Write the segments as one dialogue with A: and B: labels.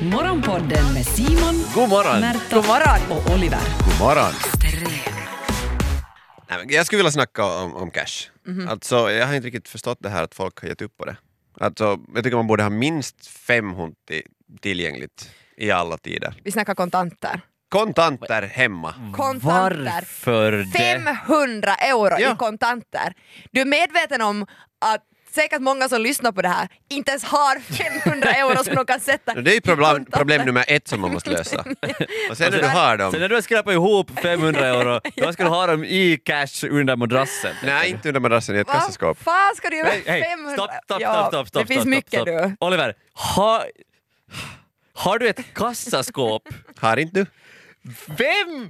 A: Morgonpodden med Simon,
B: God morgon!
A: Märta
C: God morgon.
A: och Oliver.
B: God morgon! Nej, men jag skulle vilja snacka om, om cash.
C: Mhm.
B: Alltså, jag har inte riktigt förstått det här att folk har gett upp på det. Alltså, jag tycker man borde ha minst fem hunti tillgängligt i alla tider.
C: Vi snackar kontanter.
B: Kontanter hemma.
C: Kontanter.
D: Varför det?
C: 500 euro
B: Ja.
C: i kontanter. Du är medveten om att säkert många som lyssnar på det här inte ens har 500 euro som de kan sätta
B: Det är ju problem,
C: kontanter. Alltså,
B: problem nummer ett som man måste lösa. Och sen när du har
D: Sen
B: dem,
D: när du har skrapat ihop 500 euro, då ska du ha dem i cash under madrassen.
B: nej inte under madrassen i ett kassaskåp.
C: Vad fan ska du göra
D: Hej,
C: med
D: hej,
C: 500?
D: stopp, stopp,
C: Ja,
D: stopp, stopp, stopp.
C: Det finns
D: stopp,
C: mycket
D: stopp,
C: du.
D: Oliver, har, har du ett kassaskåp?
B: Har inte du?
D: Vem?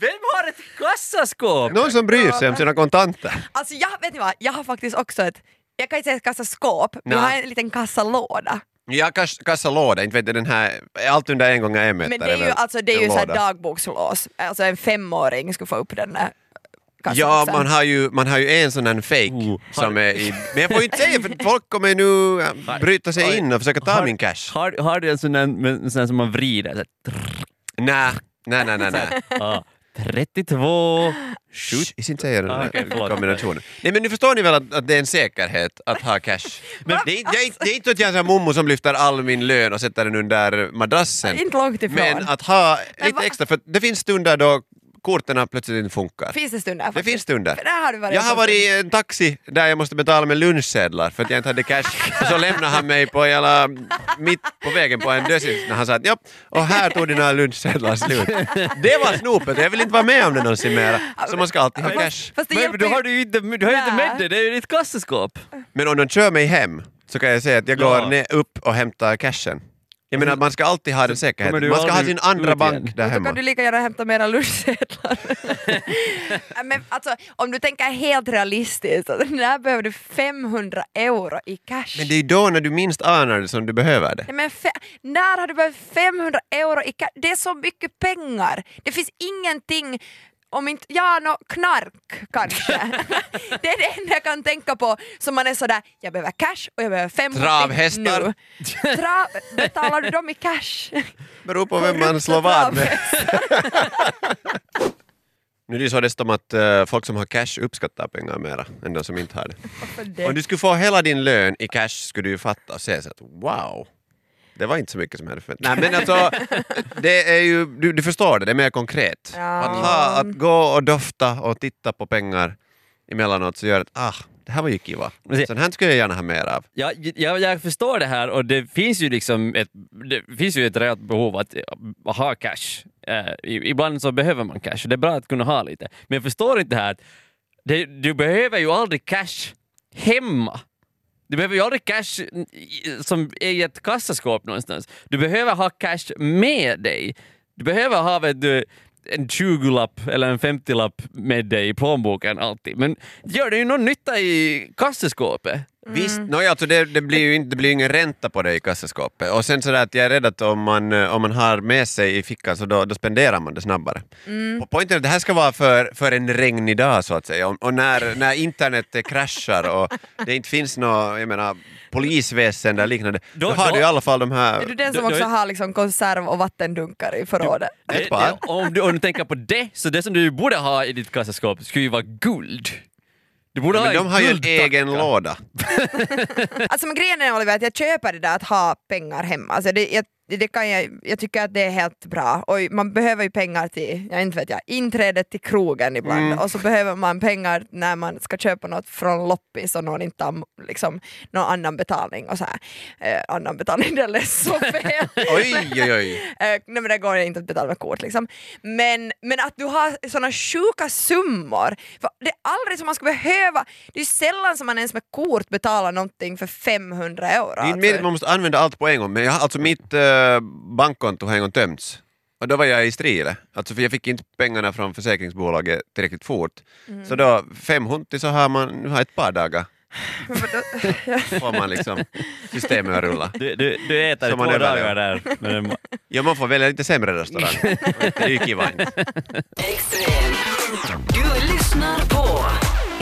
D: Vem har ett kassaskåp?
B: Någon som bryr sig om sina kontanter.
C: Alltså jag, vet ni vad, jag har faktiskt också ett, jag kan inte säga ett kassaskåp, men jag
B: Nej.
C: har en liten kassalåda.
B: Ja, kas, kassalåda, inte vet jag den här, allt under en gånger en meter.
C: Men det är ju,
B: väl
C: alltså, det är
B: en
C: ju så här
B: låda.
C: dagbokslås, alltså en femåring skulle få upp den eh, där kassan
B: Ja,
C: sen.
B: man har, ju, man har ju en sån här fake
D: Oh, har
B: som
D: du-
B: är i... Men jag får ju inte säga för folk kommer ju nu äh, bryta sig
D: Oj.
B: in och försöka ta
D: Har-
B: min cash.
D: Har, har du en sån där, med- en sån där som man vrider? Så här,
B: Nej, nej, nej, nej. nej.
D: ah, 32...
B: Shh, jag ska inte säga den
D: Ah, okej,
B: här
D: förlåt.
B: kombinationen. Nej men nu förstår ni väl att, att det är en säkerhet att ha cash. Men det, är, inte- det, är, inte- det är inte så att jag är en sån här mommo som lyfter all min lön och sätter den under madrassen.
C: Inte långt ifrån.
B: Men att ha
C: Men
B: lite
C: va-
B: extra, för det finns stunder då korten plötsligt inte funkar.
C: Finns det stunder?
B: Det
C: faktiskt?
B: finns stunder.
C: För där har du varit
B: Jag har
C: också.
B: varit i en taxi där jag måste betala med lunchsedlar för att jag inte hade cash. Och så lämnade han mig på jävla, mitt på vägen på en dösis när han sa att ja, och här tog dina lunchsedlar slut. Det var snopet jag vill inte vara med om det någonsin mera. Så man ska alltid ha cash.
C: Fast det
D: Men
C: hjälper
D: du
C: ju-
D: har du ju inte, du har ju inte
C: Nej.
D: med dig, det är ju ditt kassaskåp.
B: Men om de kör mig hem så kan jag säga att jag går
D: Ja.
B: ner upp och hämtar cashen. Jag menar att man ska alltid ha den
D: kommer
B: säkerheten.
D: du
B: Man ska ha
D: aldrig
B: sin andra
D: ut igen.
B: bank där
C: Då kan
B: hemma.
C: du lika gärna hämta mera lunchsedlar. Men alltså, om du tänker helt realistiskt, så när behöver du 500 euro i cash?
B: Men det är ju då när du minst anar det som du behöver det.
C: Nej, men fe- när har du behövt 500 euro i cash? Det är så mycket pengar. Det finns ingenting om inte, ja, nå knark kanske. det är det enda jag kan tänka på som man är sådär, jag behöver cash och jag behöver 500
B: Travhästar.
C: nu. Trav, betalar du dem i cash?
B: Beror på vem man slår vad med. Nu är det ju så dessutom att eh, folk som har cash uppskattar pengar mera än de som inte har det. Om du skulle få hela din lön i cash skulle du ju fatta och säga så att wow, det var inte så mycket som jag hade förväntat Nej men alltså, det är ju, du, du förstår det, det är mer konkret.
C: Ja.
B: Att, ha, att gå och dofta och titta på pengar emellanåt så gör det att ah, det här var ju kiva. Sånt här skulle jag gärna ha mer av.
D: Ja, jag, jag förstår det här och det finns ju liksom ett, det finns ju ett reellt behov att eh, ha cash. Eh, i- ibland så behöver man cash och det är bra att kunna ha lite. Men jag förstår inte det här att det, du behöver ju aldrig cash hemma. Du behöver ju aldrig cash i- som är i ett kassaskåp någonstans. Du behöver ha cash med dig. Du behöver ha vet du, en 20-lapp eller en 50-lapp med dig i plånboken alltid. Men gör det ju någon nytta i kassaskåpet?
B: Visst,
C: Mm.
B: nåja, alltså det, det blir ju inte, det blir ju ingen ränta på det i kassaskåpet. Och sen sådär att jag är rädd att om man, eh, om man har med sig i fickan så då, då spenderar man det snabbare.
C: Mm.
B: Och poängen är att det här ska vara för, för en regnig dag så att säga. Och, och när, när internet eh, kraschar och det inte finns något, jag menar, polisväsende eller liknande, då,
D: Då-
B: har
D: då-
B: du i alla fall de
C: Är du
B: här...
C: den som
D: Då- då
C: också
D: är-
C: har liksom konserv och vattendunkar i förrådet?
B: Ett
D: Det-
B: par.
D: det- Om du, om du tänker på det, så det som du borde ha i ditt kassaskåp skulle ju vara guld. Du borde
B: Men
D: ha
B: de har ju en
D: guldtacka.
B: egen låda.
C: Alltså men grejen är Oliver att jag köper det där att ha pengar hemma. Alltså, det, jag, det kan jag, jag tycker att det är helt bra. Och man behöver ju pengar till, jag inte vet jag, inträdet till krogen ibland. Och så behöver man pengar när man ska köpa något från loppis och någon inte har liksom, någon annan betalning. Och så här. Eh, annan betalning, det lät så fel.
B: Oj, oj, oj.
C: Eh, nej men det går inte att betala med kort liksom. Men, men att du har såna sjuka summor. För det är aldrig som man ska behöva, det är sällan som man ens med kort betalar någonting för 500 euro. alltså.
B: Det är inte meningen att man måste använda allt på en gång, men jag, har- alltså mitt eh, bankkonto har en gång tömts. Och då var jag i strid. Alltså för jag fick inte pengarna från försäkringsbolaget tillräckligt fort. Så då, fem hunti så har man nu har ett par dagar. får man liksom systemet att rulla.
D: Du, du, du äter
B: Som
D: två
B: man överlever.
D: dagar där. Men det-
B: Ja, man får välja lite sämre restaurang. Det är ju kiva inte.
E: Extrem. Du lyssnar på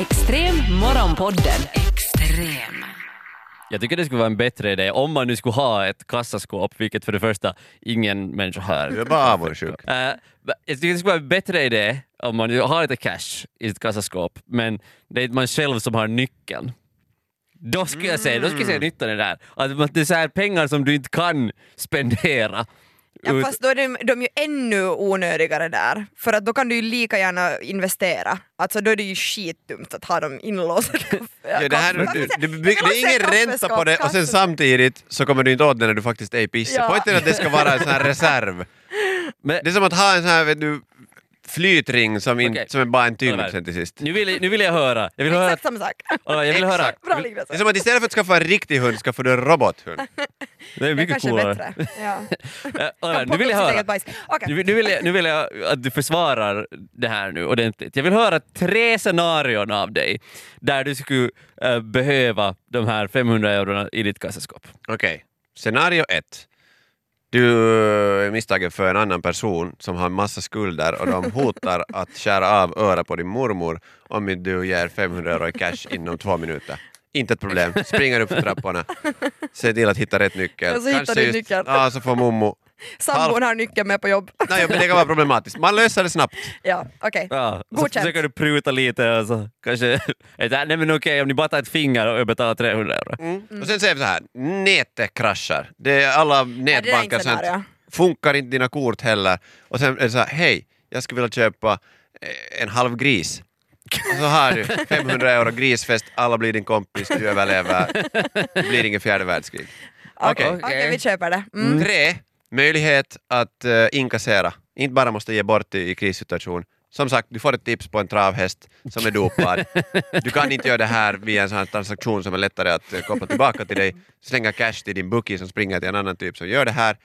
A: Extrem morgonpodden.
E: Extrem.
D: Jag tycker det skulle vara en bättre idé om man nu skulle ha ett kassaskåp, vilket för det första ingen människa har.
B: Du är bara avundsjuk.
D: Eh, men jag tycker det skulle vara en bättre idé om man ju har lite cash i sitt kassaskåp, men det är man själv som har nyckeln. Då skulle jag säga, då skulle jag
B: Mm.
D: säga nyttan är där. Att det är så här pengar som du inte kan spendera.
C: Ja,
D: Ut-
C: fast då är de, de är ju ännu onödigare där, för att då kan du ju lika gärna investera. Alltså då är det ju skitdumt att ha dem inlåsta i kaffe.
B: Ja, det, här, du,
C: kaffe-
B: du,
C: Jag
B: du,
C: kan
B: det
C: också
B: är ingen
C: säga
B: ränta på det och sen
C: kaffeskåp,
B: samtidigt så kommer du inte åt det när du faktiskt är i pisset.
C: Ja.
B: Poängen är att det ska vara en sån här reserv.
D: Men-
B: Det är som att ha en sån här vet du, flytring som, in,
D: Okej.
B: som är bara en
D: Kolla här.
B: tyngd sen till sist.
D: Nu vill, nu vill jag höra. Jag vill höra,
C: Exakt samma sak.
D: Ja, jag vill höra.
B: Exakt.
C: Bra
B: Det är
C: liknelse.
B: som att istället för att skaffa en riktig hund skaffar du en robothund.
D: Det är
C: Det
D: mycket
C: kanske är
D: coolare.
C: bättre. Ja.
D: Eh, all
C: Kan
D: right, nu
C: plocka upp
D: vill jag
C: sitt
D: höra.
C: eget bajs. Okej.
D: Nu, nu, vill jag, nu vill jag att du försvarar det här nu ordentligt. Jag vill höra tre scenarion av dig där du skulle eh, behöva de här 500 eurona i ditt kassaskåp.
B: Okej. Scenario ett. Du eh, är misstagen för en annan person som har massa skulder och de hotar att skära av öra på din mormor om inte du ger 500 euro i cash inom två minuter. Inte ett problem. Springer upp för trapporna. Se till att hitta rätt nyckel.
C: Och så hittar du nyckeln.
B: Ja, så får mommo...
C: Sambon har nyckeln med på jobb.
B: Nej, men det kan vara problematiskt. Man löser det snabbt.
C: Ja, okej.
D: Ja, och så
C: Godkänt.
D: försöker du pruta lite och så kanske... Ett, äh, Nej men okej, om ni bara tar ett finger och jag betalar 300 euro.
C: Mm.
B: Och sen säger vi så här, nätet kraschar. Det är alla
C: är
B: nätbanker
C: inte scenario.
B: sånt. Funkar inte dina kort heller. Och sen är det så här, hej, jag skulle vilja köpa eh, en halv gris. Och så har du 500 euro grisfest, alla blir din kompis, du överlever. Det blir ingen fjärde världskrig. Okej.
C: Okej, vi köper det. Mm.
B: Tre, möjlighet att eh, inkassera. Inte bara måste ge bort i, i krissituation. Som sagt, du får ett tips på en travhäst som är dopad. Du kan inte göra det här via en sån här transaktion som är lättare att eh, koppla tillbaka till dig. Slänga cash till din bookie som springer till en annan typ som gör det här.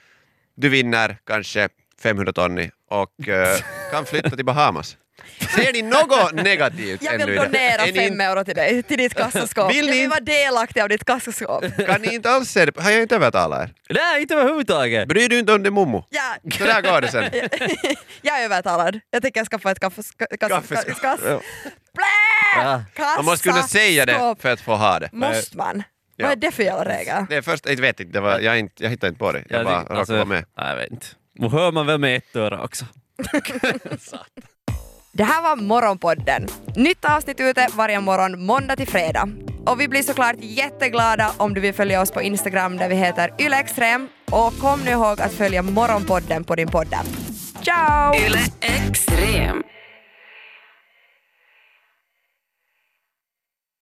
B: Du vinner kanske 500 tonni och eh, kan flytta till Bahamas. Ser ni något negativt
C: Jag
B: ännu
C: vill
B: i det?
C: donera
B: Är ni
C: fem euro till dig, till ditt kassaskåp.
B: Vill
C: jag
B: ni
C: vill
B: inte-
C: vara delaktig av ditt kassaskåp.
B: inte- Kan ni inte alls se det? Har jag inte övertalat er?
D: Nej, inte överhuvudtaget!
B: Bryr du inte om det mommo?
C: Ja,
B: Så där går det sen.
C: jag är övertalad. Jag tänker jag skaffa ett kaffeskass.
B: Kaffeskass. Ja.
D: Ja.
C: Kassa,
B: Man måste kunna säga det
C: skåp.
B: för att få ha det.
C: Måste man?
B: Ja.
C: Vad är det för jävla regel?
B: Det är först, jag vet inte, det var, jag, är inte, jag hittade inte på det. Jag, bara
D: tycker-
B: råkade vara med.
D: alltså- Nej, jag vet inte. Och hör man väl med ett öra också.
C: Det här var Morgonpodden. Nytt avsnitt ute varje morgon måndag till fredag. Och vi blir såklart jätteglada om du vill följa oss på Instagram där vi heter ylextrem. Och kom nu ihåg att följa Morgonpodden på din podd. Ciao!
E: Yle Extrem.